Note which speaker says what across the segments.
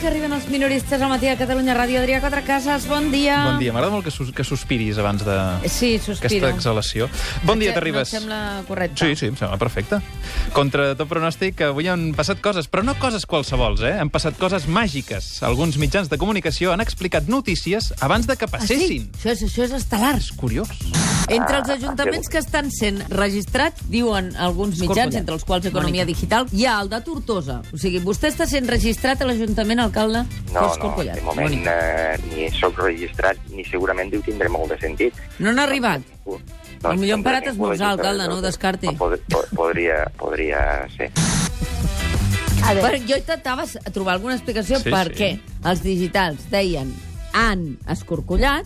Speaker 1: que arriben els minoristes al matí a Catalunya Ràdio. Adrià Quatrecases, bon dia.
Speaker 2: Bon dia. M'agrada molt que, sus que sospiris abans de...
Speaker 1: Sí, sospiro.
Speaker 2: Aquesta exhalació. Bon dia,
Speaker 1: Perquè
Speaker 2: Terribas.
Speaker 1: No em sembla correcte.
Speaker 2: Sí, sí, em sembla perfecte. Contra tot pronòstic, avui han passat coses, però no coses qualsevols, eh? Han passat coses màgiques. Alguns mitjans de comunicació han explicat notícies abans de que
Speaker 1: Ah, sí?
Speaker 2: passessin.
Speaker 1: Això és, això és estel·lar.
Speaker 2: És curiós.
Speaker 1: Entre els ajuntaments que estan sent registrats, diuen alguns mitjans,
Speaker 2: Corcollà.
Speaker 1: entre els quals Economia Digital, hi ha el de Tortosa. O sigui, vostè està sent registrat a l'Ajuntament, alcalde? que
Speaker 3: No,
Speaker 1: és
Speaker 3: no,
Speaker 1: Corcollà.
Speaker 3: de moment
Speaker 1: Bonic.
Speaker 3: eh, ni sóc registrat ni segurament ho tindré molt de sentit.
Speaker 1: No n'ha arribat?
Speaker 3: No,
Speaker 1: Potser
Speaker 3: no
Speaker 1: hem parat a
Speaker 3: ningú
Speaker 1: esmorzar,
Speaker 3: registrat,
Speaker 1: alcalde, no ho descarti.
Speaker 3: Però Pod po- podria, podria ser.
Speaker 1: A veure, jo intentava s- trobar alguna explicació
Speaker 2: Sí,
Speaker 1: sí, per
Speaker 2: sí.
Speaker 1: què els digitals deien han escorcollat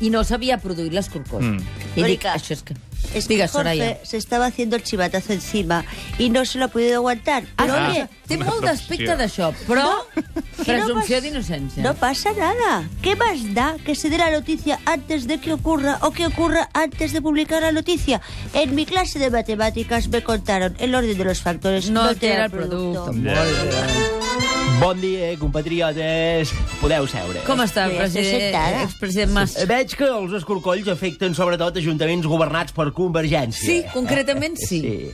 Speaker 1: i no s'havia produït l'escorcoll.
Speaker 2: Mm.
Speaker 1: Mm. I dic,
Speaker 4: Mònica,
Speaker 1: això és que...
Speaker 4: Es que
Speaker 1: Digues, Soraya.
Speaker 4: Jorge se estaba haciendo el chivatazo encima y no se lo ha podido aguantar.
Speaker 1: Ah,
Speaker 4: Pero,
Speaker 1: ah,
Speaker 4: oye,
Speaker 1: té
Speaker 2: una
Speaker 1: molt d'aspecte
Speaker 2: presumpció.
Speaker 1: d'això, però
Speaker 4: que no
Speaker 1: presumpció
Speaker 4: pas-
Speaker 1: d'innocència.
Speaker 4: No pasa nada. ¿Qué más da que se dé la noticia antes de que ocurra o que ocurra antes de publicar la noticia? En mi clase de matemáticas me contaron el orden de los factores.
Speaker 1: No altera
Speaker 4: altera
Speaker 1: el producto.
Speaker 5: Bon dia, eh, compatriotes. Podeu seure. Eh,
Speaker 1: Com està,
Speaker 4: Sí, estic
Speaker 1: president,
Speaker 4: sentada.
Speaker 1: expresident Mas?
Speaker 5: Veig que els escorcolls afecten sobretot ajuntaments governats per Convergència. Eh,
Speaker 1: Sí, concretament sí.
Speaker 5: Sí.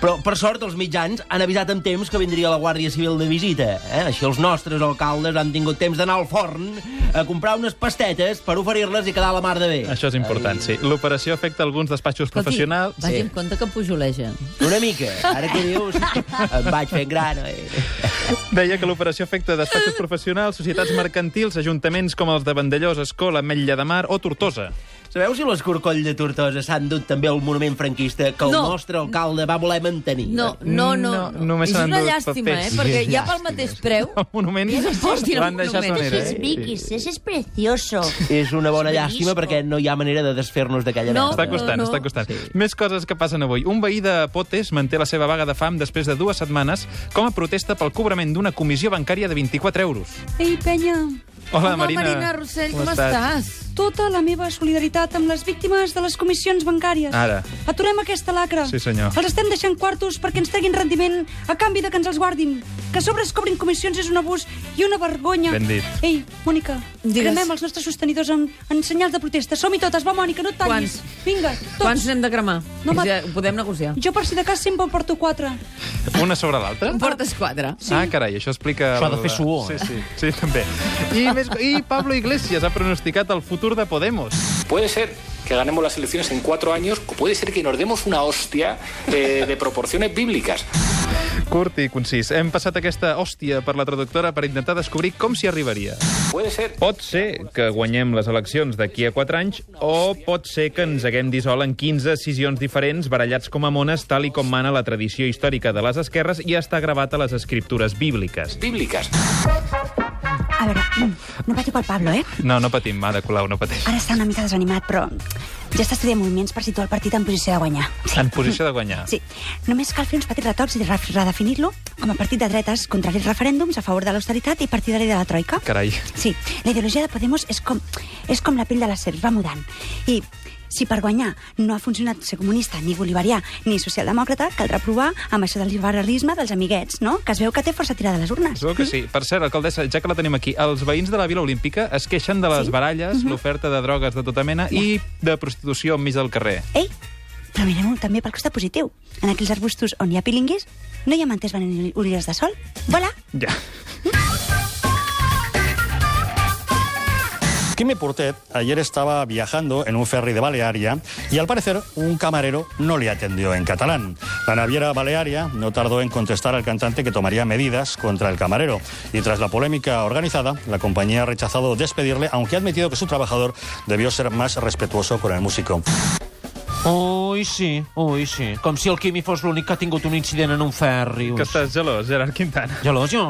Speaker 5: Però, per sort, els mitjans han avisat amb temps que vindria la Guàrdia Civil de visita. Eh? Així els nostres alcaldes han tingut temps d'anar al forn a comprar unes pastetes per oferir-les i quedar la mar de bé.
Speaker 2: Això és important, sí. L'operació afecta alguns despatxos professionals.
Speaker 1: vagi amb compte que pujoleja.
Speaker 5: Una mica. Ara que dius, em vaig fent gran, eh? oi?
Speaker 2: Deia que l'operació afecta despatxos professionals, societats mercantils, ajuntaments com els de Vandellós, Escola, Ametlla de Mar o Tortosa.
Speaker 5: Sabeu si l'escorcoll de Tortosa s'ha endut també el monument franquista que el
Speaker 1: No.
Speaker 5: nostre alcalde va voler mantenir?
Speaker 1: No, no, no.
Speaker 2: No,
Speaker 1: no.
Speaker 2: només
Speaker 1: és
Speaker 2: s'han
Speaker 1: una
Speaker 2: endut
Speaker 1: llàstima, eh?
Speaker 2: papers.
Speaker 1: Perquè ja pel
Speaker 5: Llàstimes.
Speaker 1: mateix preu...
Speaker 2: El monument
Speaker 1: Ja no pots dir el
Speaker 2: l'han deixat
Speaker 1: monument.
Speaker 2: on
Speaker 4: Ese
Speaker 2: era.
Speaker 4: es
Speaker 2: eh?
Speaker 4: Vikis, ese es precioso.
Speaker 5: És una bona
Speaker 4: És benisco.
Speaker 5: llàstima perquè no hi ha manera de desfer-nos d'aquella
Speaker 1: Oh, No.
Speaker 2: Està
Speaker 5: merda.
Speaker 2: costant,
Speaker 1: no.
Speaker 2: està costant. Més coses que passen avui. Un veí de Potes manté la seva vaga de fam després de dues setmanes com a protesta pel cobrament d'una comissió bancària de 24 euros.
Speaker 6: Ei, penya,
Speaker 2: Hola,
Speaker 1: Home,
Speaker 2: Marina.
Speaker 1: Marina Rossell, com estàs?
Speaker 6: tota la meva solidaritat amb les víctimes de les comissions bancàries.
Speaker 2: Ara.
Speaker 6: Aturem aquesta lacra.
Speaker 2: Sí, senyor.
Speaker 6: Els estem deixant quartos perquè ens treguin rendiment a canvi de que ens els guardin. Que a sobre es cobrin comissions és un abús i una vergonya.
Speaker 2: Ben dit.
Speaker 6: Ei, Mònica,
Speaker 1: Digues.
Speaker 6: cremem els nostres sostenidors en, en senyals de protesta. Som-hi totes, va, Mònica, no et tallis.
Speaker 1: Quants?
Speaker 6: Vinga, tots.
Speaker 1: Quants n'hem de cremar?
Speaker 6: No, va-
Speaker 1: ja, ho podem negociar.
Speaker 6: Jo, per si de cas, sempre en porto quatre.
Speaker 2: Una sobre l'altra?
Speaker 1: En portes quatre.
Speaker 2: Sí. Ah, carai, això explica...
Speaker 5: Això ha de fer suor,
Speaker 2: Sí,
Speaker 5: eh?
Speaker 2: sí, sí, també. I, més... I Pablo Iglesias ha pronosticat el futur de Podemos.
Speaker 7: Puede ser que ganemos las elecciones en cuatro años, o puede ser que nos demos una hostia eh, de proporciones bíblicas.
Speaker 2: Curt i concís. Hem passat aquesta hòstia per la traductora per intentar descobrir com s'hi arribaria.
Speaker 7: Puede ser
Speaker 2: Pot ser que guanyem les eleccions d'aquí a 4 anys o pot ser que ens haguem dissolt en 15 decisions diferents barallats com a mones tal i com mana la tradició històrica de les esquerres i està gravat a les escriptures bíbliques.
Speaker 7: bíblicas.
Speaker 6: A veure, mm, no patiu pel Pablo, eh?
Speaker 2: No, no patim, Ada Colau, no pateix.
Speaker 6: Ara està una mica desanimat, però ja està estudiant moviments per situar el partit en posició de guanyar.
Speaker 2: En posició de guanyar.
Speaker 6: Sí, només cal fer uns petits retocs i ref- redefinir-lo com a partit de dretes, contraris referèndums, a favor de l'austeritat i partidari de la troika.
Speaker 2: Carai.
Speaker 6: Sí, la ideologia de Podemos és com, és com la pell de la serp, va mudant. I si per guanyar no ha funcionat ser comunista, ni bolivarià, ni socialdemòcrata, caldrà provar amb això del liberalisme dels amiguets, no? Que es veu que té força tirada a les urnes. Mm.
Speaker 2: Segur que sí. Per cert, alcaldessa, ja que la tenim aquí, els veïns de la Vila Olímpica es queixen de les baralles, l'oferta de drogues de tota mena i de prostitució enmig del carrer.
Speaker 6: Ei, però mirem-ho també pel costat positiu. En aquells arbustos on hi ha pilinguis, no hi ha manters venent orelles de sol. Voilà!
Speaker 2: Ja.
Speaker 8: Jimmy Portet ayer estaba viajando en un ferry de Balearia y al parecer un camarero no le atendió en catalán. La naviera Balearia no tardó en contestar al cantante que tomaría medidas contra el camarero y tras la polémica organizada, la compañía ha rechazado despedirle, aunque ha admitido que su trabajador debió ser más respetuoso con el músico.
Speaker 9: Ui, sí, ui, sí. Com si el Quimi fos l'únic que ha tingut un incident en un ferri. Ui,
Speaker 2: Que estàs gelós, Gerard Quintana.
Speaker 9: Gelós, jo?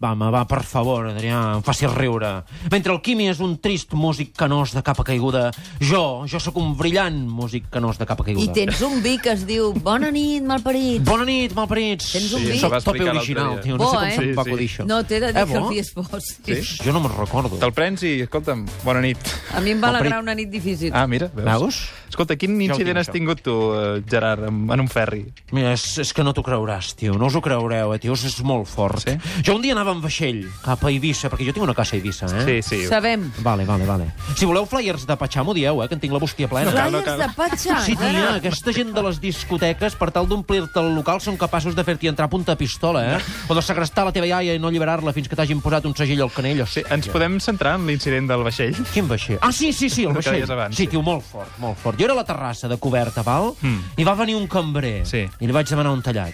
Speaker 9: Va, home, va, per favor, Adrià, em facis riure. Mentre el Quimi és un trist músic canós de capa caiguda, jo, jo sóc un brillant músic canós de capa
Speaker 1: I
Speaker 9: caiguda.
Speaker 1: tens un vi que es diu Bona nit, malparit.
Speaker 9: Bona nit, malparits.
Speaker 1: Tens un Sí, vi? això
Speaker 9: Soc
Speaker 2: va
Speaker 9: tope
Speaker 2: explicar
Speaker 9: original,
Speaker 2: l'altre dia.
Speaker 9: tio. No
Speaker 1: Bo,
Speaker 9: sé com
Speaker 1: eh?
Speaker 9: se'm va
Speaker 2: Sí, sí.
Speaker 9: acudir això.
Speaker 1: No, t'he de dir
Speaker 9: Eh,
Speaker 1: que el
Speaker 9: bo?
Speaker 1: vi és bo. Sí.
Speaker 9: Ix, Jo no me'n recordo.
Speaker 2: Te'l prens i, escolta'm, bona nit.
Speaker 1: A mi em va
Speaker 9: Malparit.
Speaker 1: alegrar una nit difícil.
Speaker 2: Ah, mira, veus?
Speaker 9: Veus?
Speaker 2: Escolta, quin
Speaker 9: Ja ho tinc,
Speaker 2: incident has
Speaker 9: això.
Speaker 2: tingut tu, eh, Gerard, amb- en un ferri?
Speaker 9: Mira, és, és que no t'ho creuràs, tio. No us ho creureu, eh, tio. És molt fort.
Speaker 2: Sí?
Speaker 9: Jo un dia anava amb vaixell cap a Eivissa, perquè jo tinc una casa a Eivissa, eh?
Speaker 2: Sí, sí.
Speaker 1: Sabem.
Speaker 9: Vale, vale, vale. Si voleu flyers de Patxà, m'ho dieu, eh, que en tinc la bústia plena.
Speaker 2: cal, no
Speaker 1: Flyers
Speaker 2: cal.
Speaker 1: de patxa.
Speaker 9: Sí, tia,
Speaker 1: Ara.
Speaker 9: aquesta gent de les discoteques, per tal d'omplir-te el local, són capaços de fer-t'hi entrar a punta de pistola, eh? O de segrestar la teva iaia i no alliberar-la fins que t'hagin posat un segell al canell.
Speaker 2: Sí, ens podem centrar en l'incident del vaixell?
Speaker 9: Quin vaixell? Ah, sí, sí, sí, el
Speaker 2: Que
Speaker 9: vaixell.
Speaker 2: deies abans,
Speaker 9: sí,
Speaker 2: sí.
Speaker 9: tio, molt fort, molt fort. Jo era a la terrassa de coberta, val?
Speaker 2: Mm.
Speaker 9: I va venir un cambrer.
Speaker 2: Sí.
Speaker 9: I li vaig demanar un tallat.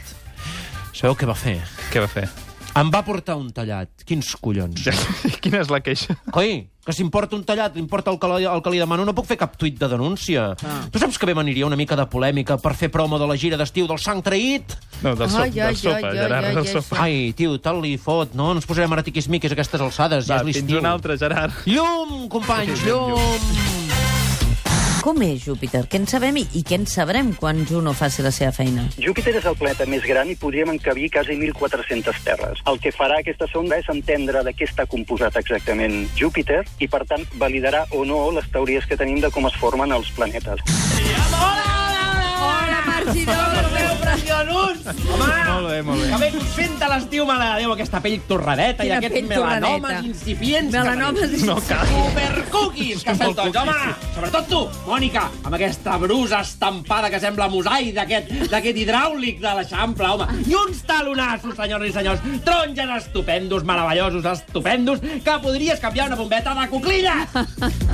Speaker 9: Sabeu què va fer?
Speaker 2: Què va fer?
Speaker 9: Em va portar un tallat. Quins collons.
Speaker 2: Ja, quina és la queixa?
Speaker 9: Coi, que si em porta un tallat, li importa el que, li- el que li demano, no puc fer cap tuit de denúncia. Ah. Tu saps que bé m'aniria una mica de polèmica per fer promo de la gira d'estiu del sang traït?
Speaker 2: No, del, sop,
Speaker 1: Ai, ai,
Speaker 2: del sopa,
Speaker 1: ai, ai,
Speaker 2: Gerard,
Speaker 1: ai,
Speaker 2: del
Speaker 1: ai,
Speaker 2: sopa.
Speaker 9: Ai, tio, tal li fot, no? No ens posarem ara tiquismiquis a aquestes alçades, ja
Speaker 2: Va,
Speaker 9: és
Speaker 2: fins
Speaker 9: l'estiu.
Speaker 2: un altre, Gerard.
Speaker 9: Llum, companys, llum!
Speaker 1: Com és Júpiter? Què en sabem i, i què en sabrem quan Juno faci la seva feina?
Speaker 3: Júpiter és el planeta més gran i podríem encabir quasi 1.400 terres. El que farà aquesta sonda és entendre de què està composat exactament Júpiter i, per tant, validarà o no les teories que tenim de com es formen els planetes.
Speaker 1: Hola, Marcidor!
Speaker 5: Preciosos! Home!
Speaker 2: Molt bé, molt bé.
Speaker 5: Que bé que us senta l'estiu, mare de Déu, aquesta pell torradeta i
Speaker 1: Quina
Speaker 5: aquests
Speaker 1: pell
Speaker 5: melanomes
Speaker 1: torradeta.
Speaker 5: incipients.
Speaker 1: Melanomes
Speaker 2: No cal.
Speaker 5: Supercookies, que sento tots, home! Sobretot tu, Mònica, amb aquesta brusa estampada que sembla mosaic d'aquest d'aquest hidràulic de l'Eixample, home. I uns talonassos, senyors i senyors, taronges estupendos, meravellosos, estupendos, que podries canviar una bombeta de cuclilles!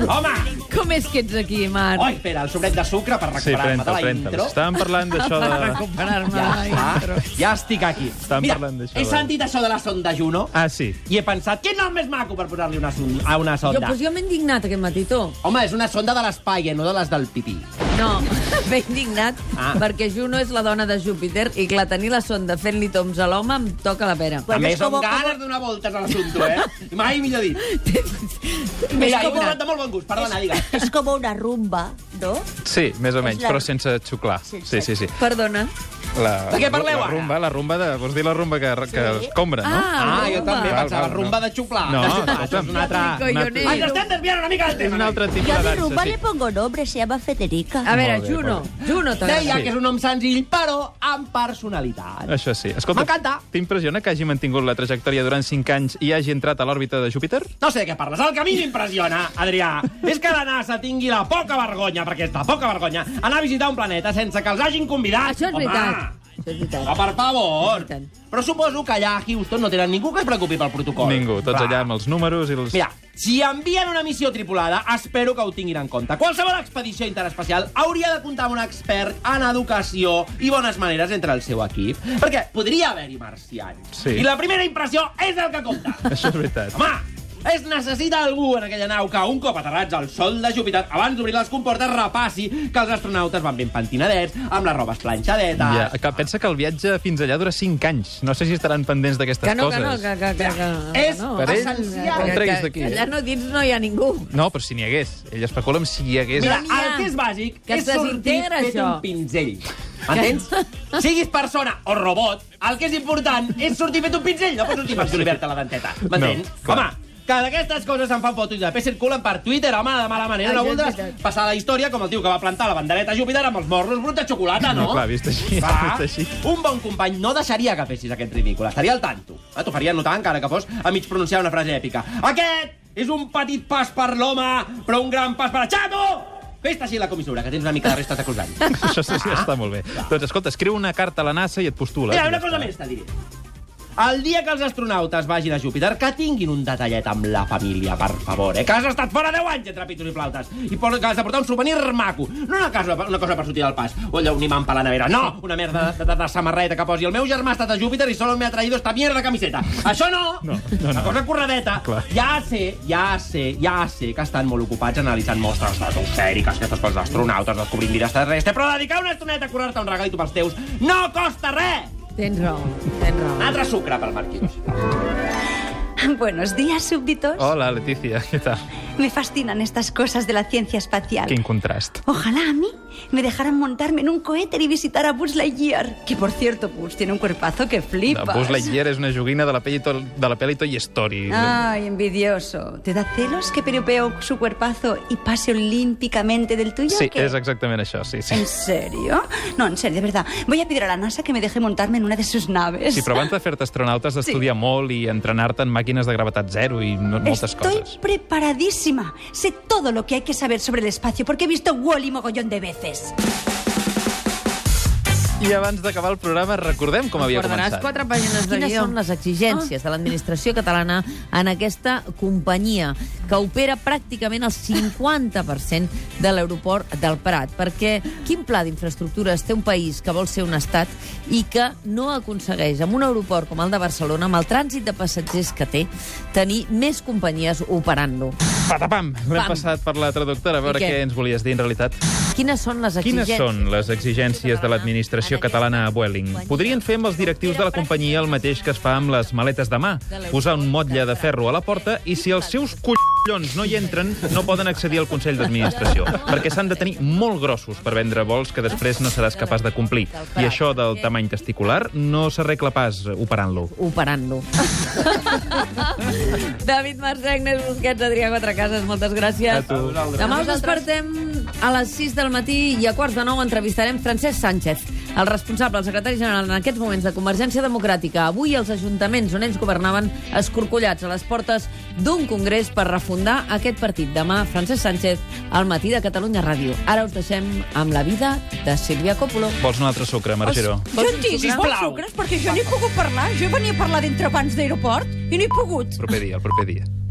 Speaker 5: Home!
Speaker 1: Com és que ets aquí, Marc?
Speaker 5: Oi, espera, el sobret de sucre per
Speaker 2: Sí,
Speaker 5: recuperar-me de
Speaker 2: pren-te'l,
Speaker 5: la
Speaker 2: pren-te'l.
Speaker 5: intro.
Speaker 2: Estàvem parlant d'això de...
Speaker 1: Recuperar-me.
Speaker 5: Ja
Speaker 1: Ai.
Speaker 5: està, ja estic aquí.
Speaker 2: Estàvem parlant d'això,
Speaker 5: he
Speaker 2: doncs.
Speaker 5: sentit això de la sonda Juno
Speaker 2: Ah, sí.
Speaker 5: i he pensat, quin nom més maco per posar-li una, son- a una
Speaker 1: Jo,
Speaker 5: sonda?
Speaker 1: pues jo m'he indignat aquest matí, tu.
Speaker 5: Home, és una sonda de l'espai, eh, no de les del pipí.
Speaker 1: No, m'he indignat
Speaker 5: Ah.
Speaker 1: ah. perquè Juno és la dona de Júpiter i clar, tenir la sonda fent-li toms a l'home em toca la pera.
Speaker 5: Bueno, També
Speaker 4: és
Speaker 5: són
Speaker 4: com-
Speaker 5: ganes de donar voltes a l'assumpte, eh? Mai millor dit. Mira, he
Speaker 4: com una-
Speaker 5: parlat de molt bon gust, perdona, digues.
Speaker 4: Es como una rumba, ¿no?
Speaker 2: Sí, més o
Speaker 4: És
Speaker 2: menys,
Speaker 4: la-
Speaker 2: però sense xuclar. Sí, sí, sí.
Speaker 1: Perdona.
Speaker 2: La,
Speaker 5: De què parleu
Speaker 2: la
Speaker 5: ara?
Speaker 2: rumba, la rumba de... Vols dir la rumba que, que escombra, no?
Speaker 5: Ah, jo també
Speaker 2: Val,
Speaker 5: pensava
Speaker 2: val,
Speaker 5: rumba
Speaker 2: no.
Speaker 5: de xuplar.
Speaker 2: No,
Speaker 5: de xuplar, això
Speaker 2: escolta'm.
Speaker 5: és un altre...
Speaker 2: Un
Speaker 1: Collonero.
Speaker 2: altre-
Speaker 5: Ens estem desviant una mica del
Speaker 2: És
Speaker 5: tema. eh?
Speaker 2: un altre tipus
Speaker 4: Yo
Speaker 2: de
Speaker 4: a mi
Speaker 2: dansa,
Speaker 4: rumba
Speaker 2: sí.
Speaker 4: le pongo nombre, se llama Federica.
Speaker 1: A veure,
Speaker 2: Molt bé,
Speaker 1: Juno,
Speaker 2: molt
Speaker 1: Juno t'agrada.
Speaker 5: Deia
Speaker 2: Sí.
Speaker 5: que és un nom senzill, però amb personalitat.
Speaker 2: Això sí. Escolta,
Speaker 5: M'encanta.
Speaker 2: t'impressiona que hagi mantingut la trajectòria durant 5 anys i hagi entrat a l'òrbita de Júpiter?
Speaker 5: No sé de què parles. El que a mi m'impressiona, Adrià, és que la NASA tingui la poca vergonya, perquè és la poca vergonya, anar a visitar un planeta sense que els hagin convidat.
Speaker 1: Això és veritat. Això és
Speaker 5: Home,
Speaker 1: veritat.
Speaker 5: per favor.
Speaker 1: És veritat.
Speaker 5: Però suposo que allà a Houston no tenen ningú que es preocupi pel protocol.
Speaker 2: Ningú, tots
Speaker 5: Clar.
Speaker 2: allà amb els números i els...
Speaker 5: Mira, si envien una missió tripulada, espero que ho tinguin en compte. Qualsevol expedició interespacial hauria de comptar amb un expert en educació i bones maneres entre el seu equip, perquè podria haver-hi marcians.
Speaker 2: Sí.
Speaker 5: I la primera impressió és el que compta.
Speaker 2: Això és veritat.
Speaker 5: Home, es necessita algú en aquella nau que, un cop aterrats al sol de Júpiter, abans d'obrir les comportes, repassi que els astronautes van ben pentinadets, amb les robes planxadetes...
Speaker 2: Ja, que pensa que el viatge fins allà dura 5 anys. No sé si estaran pendents d'aquestes
Speaker 1: Que no, que
Speaker 2: coses.
Speaker 1: no, que, que, que, que, que
Speaker 5: És
Speaker 1: no.
Speaker 5: per
Speaker 2: ell,
Speaker 5: essencial.
Speaker 2: no el treguis
Speaker 1: Que- que-
Speaker 2: d'aquí.
Speaker 1: que Allà no dins no hi ha ningú.
Speaker 2: No, però si n'hi hagués. Ell especula amb si hi hagués...
Speaker 5: Mira,
Speaker 1: No n'hi ha.
Speaker 5: el que és bàsic
Speaker 1: Que
Speaker 5: és
Speaker 1: es
Speaker 5: sortir
Speaker 1: desintegra,
Speaker 5: fet
Speaker 1: això.
Speaker 5: un pinzell. M'entens? Siguis persona o robot, el que és important és sortir fet un pinzell. No pots sortir per solivert a la denteta. M'entens?
Speaker 2: No, clar.
Speaker 5: home, que d'aquestes coses se'n fan fotos i després circulen per Twitter, home, de mala manera.
Speaker 1: Això
Speaker 5: No
Speaker 1: és
Speaker 5: voldràs
Speaker 1: veritat.
Speaker 5: passar a la història com el tio que va plantar la bandereta a Júpiter amb els morros bruts de xocolata, no?
Speaker 2: No, clar, vist així,
Speaker 5: Va,
Speaker 2: vist així.
Speaker 5: un bon company no deixaria que fessis aquest ridícul. Estaria al tanto. Eh, T'ho faria notar encara que fos a mig pronunciar una frase èpica. Aquest és un petit pas per l'home, però un gran pas per a Xato! Fes així la comissura, que tens una mica de restes de cruzall.
Speaker 2: Això sí, sí, està molt bé. Doncs escolta, escriu una carta a la NASA i et postules.
Speaker 5: Mira, una cosa més te diré. El dia que els astronautes vagin a Júpiter, que tinguin un detallet amb la família, per favor, eh? Que has estat fora 10 anys entre pitos i flautes. I posa- que has de portar un souvenir maco. No una cosa, una cosa per sortir del pas. O allò, un imant per la nevera. No! Una merda de, de, de samarreta que posi. El meu germà ha estat a Júpiter i solo m'he atraído esta mierda de camiseta. Això no! No, no, Una cosa corredeta.
Speaker 2: Clar.
Speaker 5: Ja sé, ja sé, ja sé que estan molt ocupats analitzant mostres estratosfèriques, aquestes coses d'astronautes, descobrint vides terrestres, però dedicar una estoneta a curar-te un regalito pels teus no costa res!
Speaker 1: Tens raó, tens raó.
Speaker 5: Altre sucre pel Marquinhos.
Speaker 6: Buenos días, súbditos.
Speaker 2: Hola, Letícia, què tal?
Speaker 6: Me fascinan estas cosas de la ciencia espacial.
Speaker 2: Quin contrast.
Speaker 6: Ojalá a mí me dejaran montarme en un cohete y visitar a Buzz Lightyear. Que por cierto, Buzz tiene un cuerpazo que
Speaker 2: La
Speaker 6: flipas.
Speaker 2: Buzz Lightyear és una joguina de la peli, to, de la peli Toy Story.
Speaker 1: Ah.
Speaker 6: Ay, envidioso. ¿Te da celos que peripeo su cuerpazo y pase olímpicamente del tuyo?
Speaker 2: sí,
Speaker 6: o qué?
Speaker 2: és exactament això, sí, sí.
Speaker 6: ¿En serio? No, en serio, de verdad. Voy a pedir a la NASA que me deje montarme en una de sus naves.
Speaker 2: Sí, però abans de fer-te astronauta has d'estudiar molt i entrenar-te en màquines de gravetat zero i no, moltes
Speaker 6: Estoy
Speaker 2: coses.
Speaker 6: preparadísima. Sé todo lo que hay que saber sobre el espacio porque he visto Wall-E mogollón de veces.
Speaker 2: I abans d'acabar el programa recordem com havia
Speaker 1: Guardaràs
Speaker 2: començat.
Speaker 1: quatre pàgines de Quines són les exigències de l'administració catalana en aquesta companyia que opera pràcticament el 50% de l'aeroport del Prat? Perquè quin pla d'infraestructures té un país que vol ser un estat i que no aconsegueix amb un aeroport com el de Barcelona, amb el trànsit de passatgers que té, tenir més companyies operant-lo?
Speaker 2: Patapam! L'hem
Speaker 1: Pam.
Speaker 2: passat per la traductora a veure
Speaker 1: I què?
Speaker 2: què ens volies dir en realitat.
Speaker 1: Quines són les
Speaker 2: Quines
Speaker 1: exigències?
Speaker 2: són les exigències de l'administració catalana a Vueling? Podrien fer amb els directius de la companyia el mateix que es fa amb les maletes de mà, posar un motlle de ferro a la porta i si els seus collons no hi entren, no poden accedir al Consell d'Administració, perquè s'han de tenir molt grossos per vendre vols que després no seràs capaç de complir. I això del tamany testicular no s'arregla pas operant-lo.
Speaker 1: operant-lo. David Marçà, Agnès Busquets, Adrià Quatrecases, moltes gràcies.
Speaker 2: A tu.
Speaker 1: Demà us despertem a les 6 del matí i a quarts de nou entrevistarem Francesc Sánchez, el responsable, el secretari general en aquests moments de Convergència Democràtica. Avui els ajuntaments on ells governaven escorcollats a les portes d'un congrés per refundar aquest partit. Demà Francesc Sánchez al matí de Catalunya Ràdio. Ara us deixem amb la vida de Sílvia Coppolo.
Speaker 2: Vols un altre sucre, Margero?
Speaker 1: Vols
Speaker 6: Jo
Speaker 1: un
Speaker 6: en tinc
Speaker 1: sucre?
Speaker 6: molts sucres perquè jo no he pogut parlar. Jo venia a parlar d'entrepans d'aeroport i no he pogut.
Speaker 2: El proper dia, el proper dia.